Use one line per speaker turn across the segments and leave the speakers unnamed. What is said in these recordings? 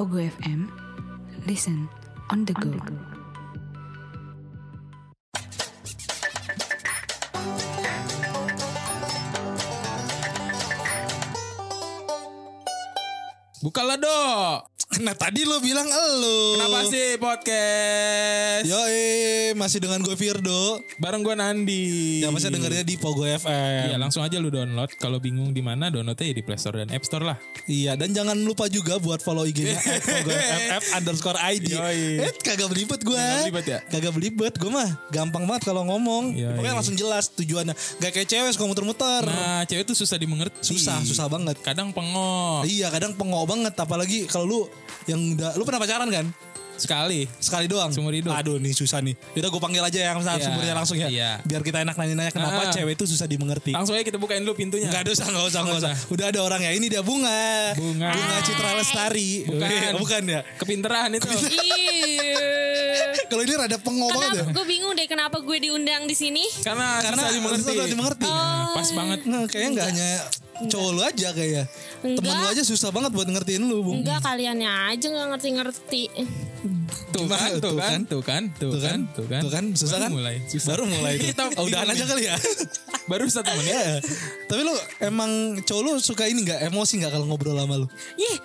Ogo FM. Listen on the go.
Bukalah dok.
Nah tadi lo bilang elu.
Kenapa sih podcast?
Yoi, masih dengan gue Firdo.
Bareng gue Nandi.
Ya masih dengernya di Pogo
Iya
FM.
langsung aja lu download. Kalau bingung di mana downloadnya ya di Play Store dan App Store lah.
Iya, dan jangan lupa juga buat follow IG-nya at Pogo FF underscore ID.
Yoi.
Eh, kagak belibet gue.
Kagak belibet ya?
Kagak belibet. Gue mah gampang banget kalau ngomong.
Yoi.
Pokoknya langsung jelas tujuannya. Gak kayak cewek suka muter-muter.
Nah iya. cewek tuh susah dimengerti.
susah, susah banget.
Kadang pengok.
Iya, kadang pengok banget. Apalagi kalau lu yang udah... Lu pernah pacaran kan?
Sekali.
Sekali doang.
Seumur hidup.
Aduh nih susah nih. Yaudah gue panggil aja yang sama
Iya,
sumbernya langsung ya.
iya.
Biar kita enak nanya-nanya kenapa
Ah.
cewek itu susah dimengerti.
Langsung aja kita bukain dulu pintunya.
Enggak ada usah, enggak usah, enggak usah. Udah ada orang ya. Ini dia bunga.
Bunga.
Citra Lestari.
Bukan.
Wih, Bukan ya.
Kepinteran itu.
Iya.
Kalau ini rada pengol banget ya.
Kenapa gue bingung deh kenapa gue diundang di sini?
Karena,
Karena
susah dimengerti.
susah dimengerti.
Nah, pas banget.
Nah, kayaknya enggak hanya cowok lu aja kayaknya. Temen lu
Enggak.
aja susah banget buat ngertiin lu, Bung.
Enggak kaliannya aja nggak ngerti-ngerti.
Tuh
Gimana?
kan, tuh
Tuh
kan,
kan?
tuh kan, tuh kan, tuh kan.
Tuh kan, susah
Baru
kan?
Mulai. Susah.
Baru mulai tuh.
Kita
Oh, udahan
bingung
aja
nih.
kali ya.
Baru satu menit.
Iya. Tapi lu emang cowok lu suka ini enggak emosi enggak kalau ngobrol sama lu?
Yeh,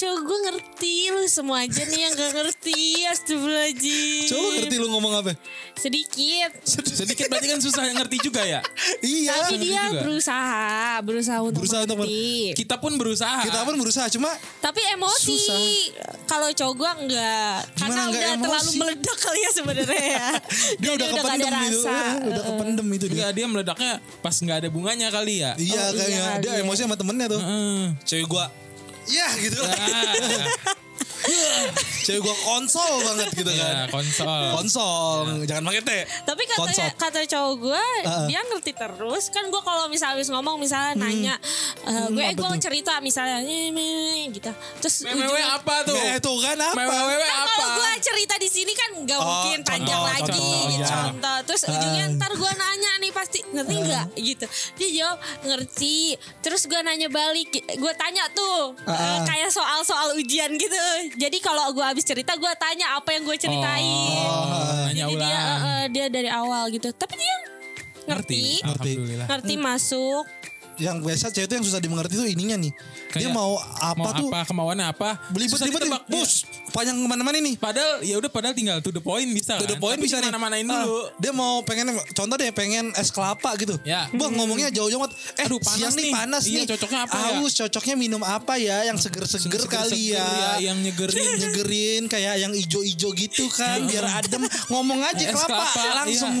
cowok gue ngerti lu semua aja nih yang gak ngerti Astagfirullahaladzim
Cowok lu ngerti lu ngomong apa?
Sedikit
Sedikit berarti kan susah ngerti juga ya.
Iya.
Tapi dia
juga.
berusaha Berusaha untuk
Berusaha untuk
ngerti
Kita pun berusaha.
Kita pun berusaha cuma
Tapi emosi
Susah.
Kalau cowok gue enggak Karena
nggak
udah
emosi?
terlalu meledak kali ya sebenarnya ya
dia udah
Jadi nggak ada
kependem gitu.
rasa.
Eh, Udah kependem itu dia.
Enggak dia meledaknya pas nggak ada bunganya kali ya. Hmm.
Iya
Oh, iya
kayaknya
kali
dia
ya.
emosi sama temennya tuh.
Heeh.
cewek gua ya gitu lah
Ah,
cewek gua konsol banget gitu kan
ya, konsol. Iya.
konsol jangan pakai teh
Tapi katanya
Konsol.
kata cowok gue
Heeh. Hmm.
dia ngerti terus kan gue kalau misalnya habis ngomong misalnya nanya eh, gue eh,
apa
gue
tuh?
cerita misalnya "Eh, me, me," gitu terus
Mewewe
ujung-
apa tuh?
nah itu kan apa
Mewewe
Kan
apa?
kalau gue cerita di sini kan nggak
Oh,
mungkin panjang
contoh,
lagi
contoh,
gitu,
iya.
contoh terus ujungnya ntar gue nanya nih pasti ngerti nggak gitu dia jawab ngerti terus gue nanya balik gue tanya tuh eh,
Ah.
kayak soal-soal ujian gitu jadi kalau gue habis cerita gue tanya apa yang gue ceritain
Oh, nanya
jadi dia
ulang.
eh, eh, dia dari awal gitu. Tapi dia ngerti, ngerti,
Ngerti.
Alhamdulillah.
masuk.
yang biasa cewek itu yang susah dimengerti tuh ininya nih dia
Kayak,
mau apa
Mau
tuh
apa kemauannya apa? Susah
belibet-belibet nih
ditebak.
bus panjang kemana-mana nih
Padahal ya udah padahal tinggal to the point bisa
To
kan?
the point
Tapi
bisa nih.
mana-manain
Ah,
dulu.
dia mau pengen contoh deh pengen es kelapa gitu.
Ya.
Bang ngomongnya jauh-jauh banget. Eh
Aduh, panas
siang
nih.
nih panas
Iya,
nih.
cocoknya apa ya?
Haus, cocoknya minum apa ya yang seger-seger kali ya.
Seger-seger ya, yang nyegerin.
nyegerin kayak yang ijo-ijo gitu kan biar adem. Ngomong
Es
aja kelapa, langsung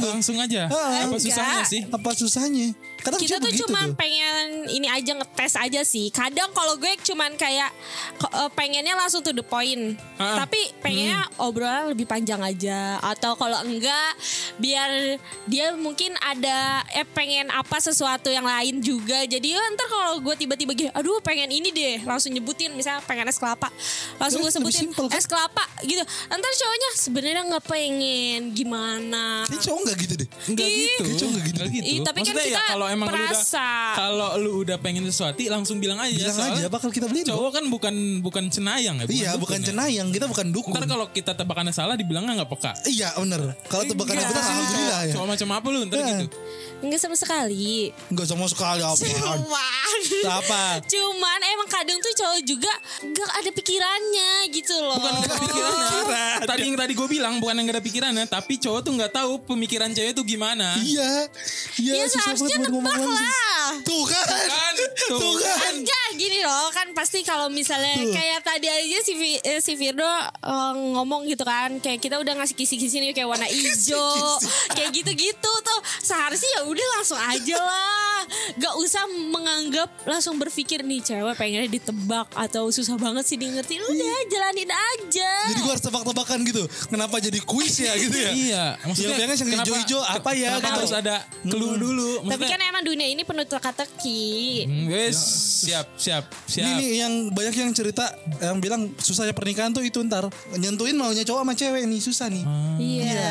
iya,
tuh.
langsung aja.
Ah,
Apa
enggak.
susahnya sih?
Apa susahnya? Kadang cewek
Kita tuh
Kan begitu
cuman pengen ini aja ngetes aja sih. Kadang kalau gue cuman kayak ko- eh, pengennya langsung to the point.
Ah.
Tapi pengennya
Hmm.
obrolan lebih panjang aja atau kalau enggak biar dia mungkin ada eh pengen apa sesuatu yang lain juga. Jadi ya, ntar kalau gue tiba-tiba gini, aduh pengen ini deh, langsung nyebutin misalnya pengen es kelapa. Langsung gue
Terus lebih
sebutin
simpel, kan?
es kelapa gitu. Ntar cowoknya sebenarnya nggak pengen gimana.
Ini cowok gak gitu deh.
Enggak
Ih.
gitu.
Kecil enggak gitu.
Enggak
Ih, tapi kan
Maksudnya ya,
kita
kalau emang lu udah
perasa.
kalau lu udah pengen sesuatu langsung bilang aja
Bilang aja
Ya, soalnya
bakal kita beliin.
cowok kan bukan bukan cenayang ya.
Iya,
dukun
bukan
ya.
cenayang, kita bukan dukun.
Ntar kalau kita tebakannya salah dibilangnya nggak peka.
Iya, bener. Kalau tebakan
Enggak.
aku tuh alhamdulillah ya.
Cowok macam apa lu ntar
Ya.
gitu.
Enggak sama sekali.
Enggak sama sekali apaan.
Cuman
apa?
Cuman emang kadang tuh cowok juga Gak ada pikirannya gitu loh
Bukan nggak ada pikirannya. Iya. Tadi yang tadi gue bilang bukan yang nggak ada pikirannya, tapi cowok tuh nggak tahu pemikiran cewek tuh gimana.
Iya. Iya,
Ya
susah
seharusnya
banget buat ngomong
nebak
langsung.
lah
Tuh kan.
Kan? Tuh.
Tuh kan.
Enggak gini loh kan pasti kalau misalnya kayak tadi aja si, Vi- eh, si Firdo eh, ngomong gitu kan kayak kita udah ngasih kisi-kisi nih kayak warna hijau kayak gitu-gitu tuh seharusnya ya udah langsung aja lah gak usah menganggap langsung berpikir nih cewek pengennya ditebak atau susah banget sih diingetin udah jalanin aja
Iya. Jadi gua harus tebak-tebakan gitu. Kenapa jadi kuis ya gitu ya?
Iya, maksudnya
Yang pengen yang
kenapa-
hijau-hijau apa ya?
Kenapa
gitu. Hmm.
harus ada clue dulu?
tapi
Maksudnya-
kan emang dunia ini penuh teka-teki
Hmm, Wes, siap, siap, siap.
Ya. Ini nih yang banyak yang cerita yang ya
Hmm.
bilang susahnya pernikahan tuh itu ntar nyentuhin maunya cowok sama cewek nih susah nih.
Iya.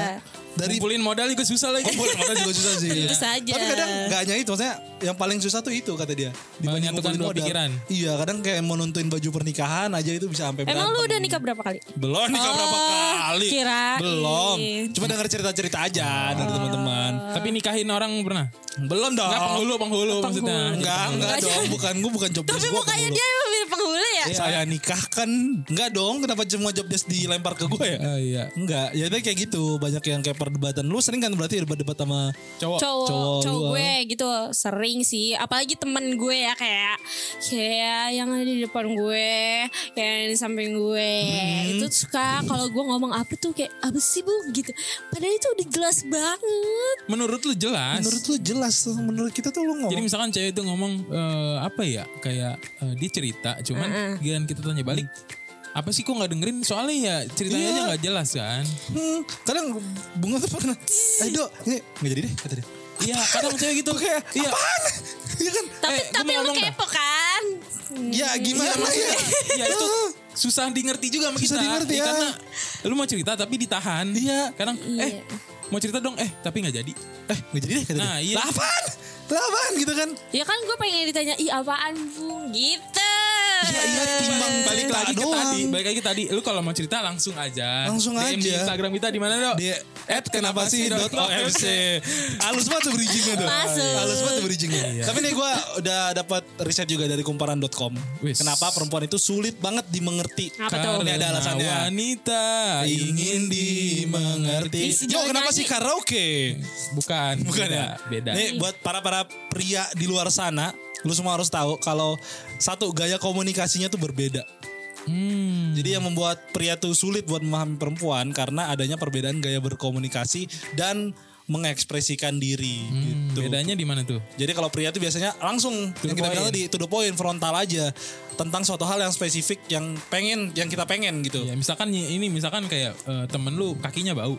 dari Oh,
Kumpulin modal juga susah lagi.
kumpulin modal juga susah sih.
Iya.
Tentu saja.
Tapi kadang nggak hanya itu, maksudnya yang paling susah tuh itu kata dia. Dibanding
Menyatukan
ngumpulin
dua pikiran.
Iya, kadang kayak mau nentuin baju pernikahan aja itu bisa sampai
Emang lu
berantem.
udah nikah berapa kali?
Belum nikah berapa
Oh,
kali?
kirain.
Belum.
Iya.
Cuma denger cerita-cerita aja dari teman-teman.
Tapi nikahin orang pernah?
Belum
Oh.
dong.
Enggak penghulu, penghulu
Penghulu.
maksudnya. Gitu.
Enggak, enggak dong. Bukan gue bukan job
Tapi
desk gua
mukanya
penghulu.
dia emang mirip penghulu ya?
Iya. Saya nikah kan enggak dong. Kenapa semua job desk dilempar ke gue ya?
Oh iya.
Enggak, ya udah kayak gitu. Banyak yang kayak perdebatan. Lu sering kan berarti debat-debat sama
Cowok.
cowok
cowok
cowok,
lu,
gue gitu sering sih apalagi temen gue ya kayak kayak yang ada di depan gue kayak yang di samping gue itu suka kalau gue ngomong apa tuh kayak apa sih bu gitu padahal itu udah jelas banget
Menurut lu jelas.
menurut lu jelas menurut kita tuh lu ngomong
Jadi misalkan cewek itu ngomong eh, apa ya kayak eh, dia cerita cuman giliran kita tanya balik apa sih kok nggak dengerin soalnya ya ceritanya
Iya.
aja nggak jelas kan
Hmm, kadang bunga tuh pernah Ayo ini nggak jadi deh kata dia
iya kadang cewek gitu kayak iya
Iya kan
tapi
Eh, gua
tapi
mau
lu
ngomong dah.
kepo kan
Ya gimana ya
Iya itu susah di ngerti juga sama kita.
Susah di ngerti,
Iya,
ya.
Karena lu mau cerita tapi ditahan.
Iya.
Kadang eh mau cerita dong eh tapi nggak jadi.
Eh nggak jadi deh kata
Nah,
dia
iya.
Lapan Lapan gitu kan
ya kan gue pengen ditanya ih apaan bu gitu
Ya iya timbang
Balik lagi ke
doang.
tadi, balik lagi ke tadi. Lu kalau mau cerita langsung aja.
Langsung
DM di
aja.
Instagram kita di mana dong?
Di at kenapa sih dot ofc halus banget tuh bridgingnya tuh Iya,
Masuk.
halus banget tuh bridgingnya
Iya.
tapi nih gue udah dapat riset juga dari kumparan.com
Wis.
kenapa perempuan itu sulit banget dimengerti
Apa tuh?
ini ada alasannya
Wanita ingin dimengerti.
Ih, si
Yo
Joy
kenapa
nyanyi.
sih karaoke
Bukan.
Bukan
beda,
ya?
Beda.
Nih buat para-para pria di luar sana, lu semua harus tahu kalau satu gaya komunikasinya tuh berbeda.
Hmm.
Jadi yang membuat pria tuh sulit buat memahami perempuan karena adanya perbedaan gaya berkomunikasi dan mengekspresikan diri gitu.
Hmm, Bedanya di mana tuh?
Jadi kalau pria tuh biasanya langsung
the
yang kita bilang
point.
tadi to the point frontal aja tentang suatu hal yang spesifik yang pengen yang kita pengen gitu.
Ya misalkan y- ini misalkan kayak eh, temen lu kakinya bau.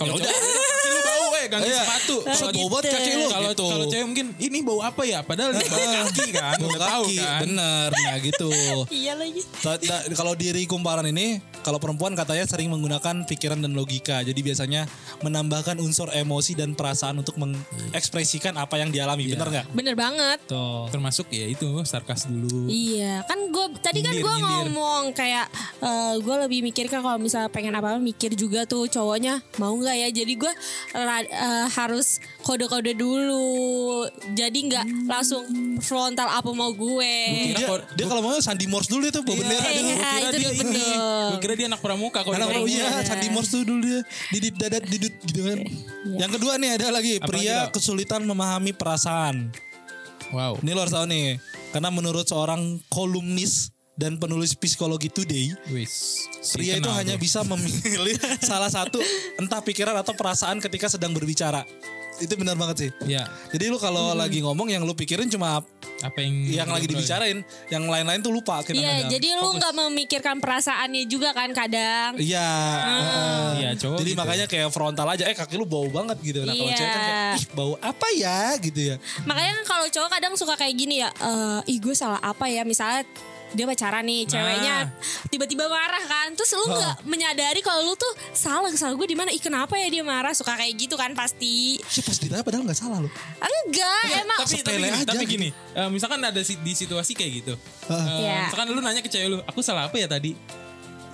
Kalau
Ya
cowok,
udah.
kaki lu bau eh ganti
Iya.
sepatu.
Kalau
Kalau
bobot kaki lu
kalau
gitu.
kalau cewek mungkin ini bau apa ya padahal dia bau kaki kan.
Bau
Udah tahu
kaki,
kan.
bener nah gitu.
iya lagi
Ta- ta- kalau diri kumparan ini kalau perempuan katanya sering menggunakan pikiran dan logika jadi biasanya menambahkan unsur emosi dan perasaan untuk mengekspresikan apa yang dialami
Iya.
bener nggak
bener banget
Tuh. Termasuk ya itu sarkas dulu.
Iya, kan gue tadi kan
Nyindir,
gue
nyindir.
ngomong kayak gue lebih mikir kan kalau misalnya pengen apa apa mikir juga tuh cowoknya mau nggak ya. Jadi gue harus kode-kode dulu. Jadi nggak langsung frontal apa mau gue.
Mungkin
dia,
Kira-
Iya. dia kalau mau Sandi Morse dulu itu bawa bendera
Iya,
dulu.
iya.
Gua kira
itu
dia ini.
betul.
Gua kira dia anak pramuka kalau
Karena
dia
kalau
orang-
iya Sandi Morse tuh dulu dia didit dadat didut gitu kan. Yang kedua nih ada lagi pria
dok?
kesulitan memahami perasaan.
Wow.
Ini lo harus tahu nih karena menurut seorang kolumnis dan penulis psikologi Today
Wis. Si
Pria itu
kenal tuh.
hanya bisa memilih salah satu entah pikiran atau perasaan ketika sedang berbicara. Itu benar banget sih.
Ya,
Jadi lu kalau lagi ngomong yang lu pikirin cuma
apa yang
yang lagi
ngobrol.
dibicarain, yang lain-lain tuh lupa
Iya,
kadang-kadang.
jadi lu nggak memikirkan perasaannya juga kan kadang.
Iya. heeh.
Iya, cowok
Jadi
gitu.
makanya kayak frontal aja, eh kaki lu bau banget gitu. Nah, kalau
Iya.
cewek kan kayak, ih bau apa ya gitu ya.
Makanya kan kalau cowok kadang suka kayak gini ya, eh, ih gue salah apa ya misalnya dia pacaran nih
Nah.
ceweknya tiba-tiba marah kan terus
Oh.
lu nggak menyadari kalau lu tuh salah salah gue di mana ih kenapa ya dia marah suka kayak gitu kan pasti
Sih pas ditanya padahal gak salah lu.
enggak Eh, emang
tapi tapi
sepele
gini,
aja
tapi
gitu.
gini eh, misalkan ada si- di situasi kayak gitu Eh,
Iya.
misalkan lu nanya ke cewek lu aku salah apa ya tadi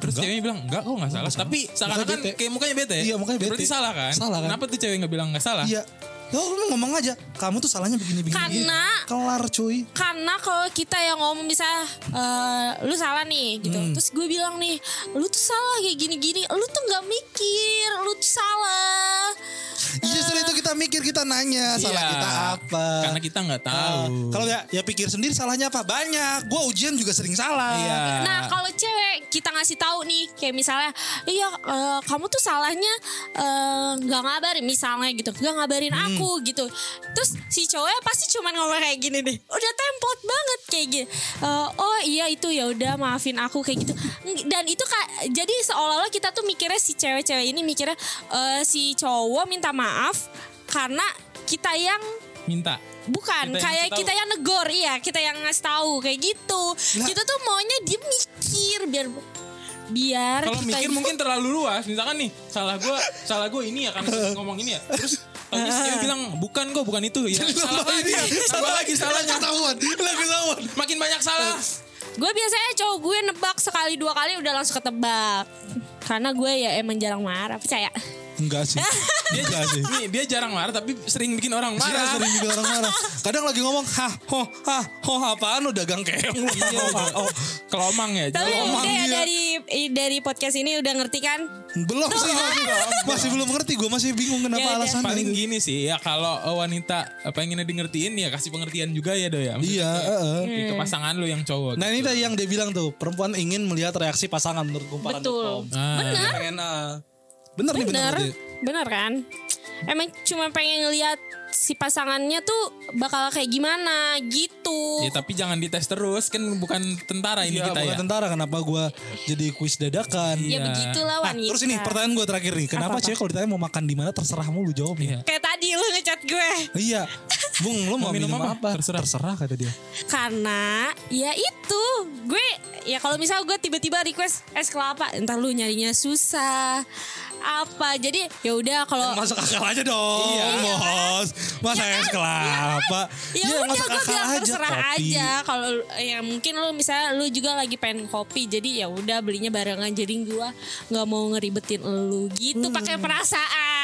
terus
Enggak.
ceweknya bilang enggak kok enggak salah
salah.
tapi seakan-akan
bete.
kayak mukanya bete ya?
Iya, mukanya bete.
berarti salah kan
Salah kan.
kenapa tuh cewek nggak bilang enggak salah
Iya. Yo lu ngomong aja, kamu tuh salahnya begini-begini.
Karena-
Kelar cuy.
karena kalau kita yang ngomong bisa eh, lu salah nih gitu
Hmm.
terus gue bilang nih lu tuh salah kayak gini-gini lu tuh nggak mikir lu tuh salah
Justru itu kita mikir, kita nanya salah
Iya.
kita apa.
karena kita nggak tahu
Ah, Kalau ya, ya pikir sendiri salahnya apa? Banyak. Gua ujian juga sering salah.
iya
Nah kalau cewek kita ngasih tahu nih kayak misalnya iya eh, kamu tuh salahnya eh, nggak ngabarin misalnya gitu nggak ngabarin aku gitu terus si cowoknya pasti cuman ngomong kayak gini deh udah template banget kayak gini Eh, oh iya itu ya udah maafin aku kayak gitu Ng- dan itu ka- jadi seolah-olah kita tuh mikirnya si cewek-cewek ini mikirnya eh, si cowok minta maaf karena kita yang
minta
Bukan,
Kita yang
kayak
ngasih
kita yang negor iya, kita yang ngasih tahu kayak gitu.
Lah.
Kita tuh maunya dia mikir biar biar
Kalau
kita
gitu.
mikir mungkin terlalu luas. Misalkan nih, salah gue, salah gue ini ya karena sering ngomong ini ya. Terus Abis dia bilang bukan kok bukan itu ya salah lagi salah lagi salahnya
Iya. ketahuan lagi ketahuan
makin banyak salah
gue biasanya cowok gue nebak sekali dua kali udah langsung ketebak karena gue ya emang jarang marah percaya
enggak sih
dia
enggak sih
nih, dia jarang marah tapi sering bikin orang
Dia
marah
Iya,
Iya.
sering bikin orang marah kadang lagi ngomong hah ho hah ho apaan lu dagang keong lu?"
Iya, oh, kelomang ya
tapi
jelomang.
udah ya
dia.
dari i- dari podcast ini udah ngerti kan
belum sih masih, masih belum ngerti gue masih bingung
Oh, iya. Ya
kenapa
udah.
alasannya
paling gini sih ya kalau eh, wanita eh, pengennya dengertiin ya kasih pengertian juga ya do ya Maksudnya
iya heeh.
ke- ke pasangan lo yang cowok gitu.
Nah ini tadi yang dia bilang tuh perempuan ingin melihat reaksi pasangan menurut kumparan
betul
Bener. Pengen, eh, bener nih bener.
bener
berarti.
bener kan emang cuma pengen ngeliat si pasangannya tuh bakal kayak gimana gitu
ya tapi jangan dites terus kan bukan tentara ini
Iya,
kita
bukan
ya
tentara kenapa gue jadi kuis dadakan.
ya
Iya.
begitulah
Nah,
wanita
terus ini pertanyaan gue terakhir nih. Kenapa cewek kalau ditanya mau makan di mana terserah mulu jawabnya.
Iya.
kayak tadi lu ngechat gue
Iya. Bung lu mau minum, apa? Terserah. kata dia.
karena ya itu gue ya kalau misal gue tiba-tiba request es kelapa entar lu nyarinya susah apa jadi ya udah kalau
Masuk akal aja dong.
Iya. kan?
Bos. Masa es kelapa.
ya
Iya,
udah gue bilang terserah
kopi.
aja kalau ya mungkin lu misalnya lu juga lagi pengen kopi jadi ya udah belinya barengan jadi gue nggak mau ngeribetin lu gitu pakai perasaan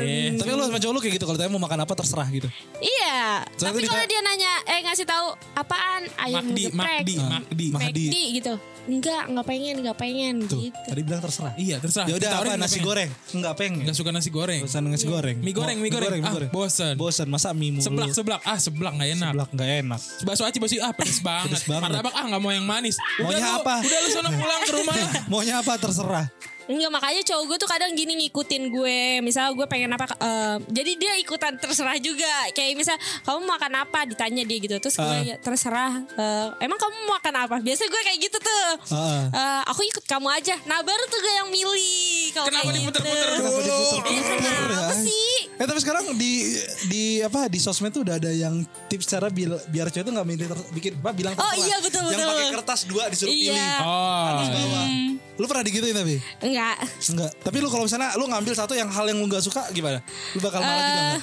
Iya.
Tapi lu sama cowok lu kayak gitu kalau ditanya mau makan apa terserah gitu.
iya
Terus
tapi
aku
kalau
ditanya-
dia nanya eh ngasih tahu apaan ayam
Makdi,
geprek
Makdi, Makdi.
Mahdi.
McD gitu enggak nggak pengen nggak pengen
Tuh,
gitu
tadi bilang terserah.
Iya terserah.
Ya udah
Ditawarin
apa
nggak
nasi
pengen.
goreng? Enggak pengen.
Nggak suka nasi goreng.
Bosan nasi goreng.
Mie goreng, mie goreng. Ah, bosen.
Bosan, masa mie mulu.
Seblak, seblak. Ah seblak nggak enak.
Seblak nggak enak.
Bakso aci, bakso ah pedes banget.
Pedes banget.
Martabak ah nggak mau yang manis. Udah
Maunya
lu-
apa?
Udah lu sana pulang ke rumah.
Maunya apa terserah.
Enggak makanya cowok gue tuh kadang gini ngikutin gue Misalnya gue pengen apa eh, Jadi dia ikutan terserah juga Kayak misal kamu makan apa ditanya dia gitu Terus
Ah.
gue ya, terserah eh, Emang kamu makan apa Biasanya gue kayak gitu tuh
Ah.
Heeh.
Eh, Aku ikut kamu aja Nah baru tuh gue yang milih kalau
Kenapa
kayak
diputer-puter
gitu.
dulu?
Iya, Kenapa
Ya.
sih
Eh tapi sekarang di di apa di sosmed tuh udah ada yang tips cara bil- biar cewek tuh nggak milih ter- bikin apa bilang
Oh,
terserah.
iya, betul,
yang
betul.
pakai kertas dua disuruh pilih.
Iya
Oh.
Bawa. Lu pernah digituin tapi?
Enggak
Enggak. Tapi lu kalau misalnya lu ngambil satu yang hal yang lu nggak suka gimana? Lu bakal marah juga
Eh,
nggak?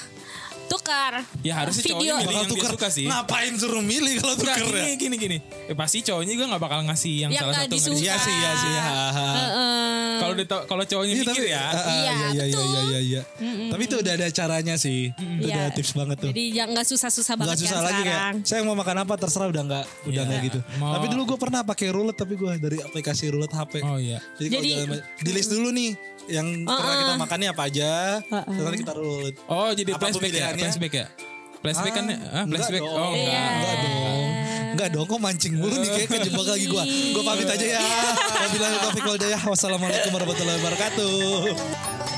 Tukar
Ya harusnya cowoknya
Video.
milih yang dia suka sih.
Ngapain suruh milih kalau
Nggak,
tuker ya?
gini, gini, gini. Eh, pasti cowoknya juga nggak bakal ngasih yang
Yang
salah
nggak
satu. nggak
disuka.
disuka.
Iya sih, iya sih. ya.
Heeh.
Kalau dito- kalau cowoknya
Iya,
mikir ya.
Ah, ah,
Eh, Iya,
iya, iya,
betul.
iya, iya, iya. Tapi itu udah ada caranya sih. Itu
Iya.
udah tips banget tuh.
Jadi jangan nggak susah-susah banget
Gak susah
kan
lagi
sekarang.
kayak saya mau makan apa terserah udah nggak udah
Iya.
nggak gitu.
Mau-
Tapi dulu gue pernah pakai roulette tapi gue dari aplikasi roulette HP.
Oh iya.
Jadi, kalau
Jadi- Eh,
jalan- di list dulu nih yang terserah kita makannya apa aja. Terus nanti kita roulette.
Oh jadi
Apa
flashback ya,
pemilihannya?
flashback ya. Flashback kan ah,
Ah,
flashback.
Enggak
Oh
dong.
enggak.
Enggak dong. Enggak dong kok mancing mulu nih kayak kejebak lagi gue. Gue pamit aja ya. Wabillahi taufiq wal hidayah. Wassalamualaikum warahmatullahi wabarakatuh.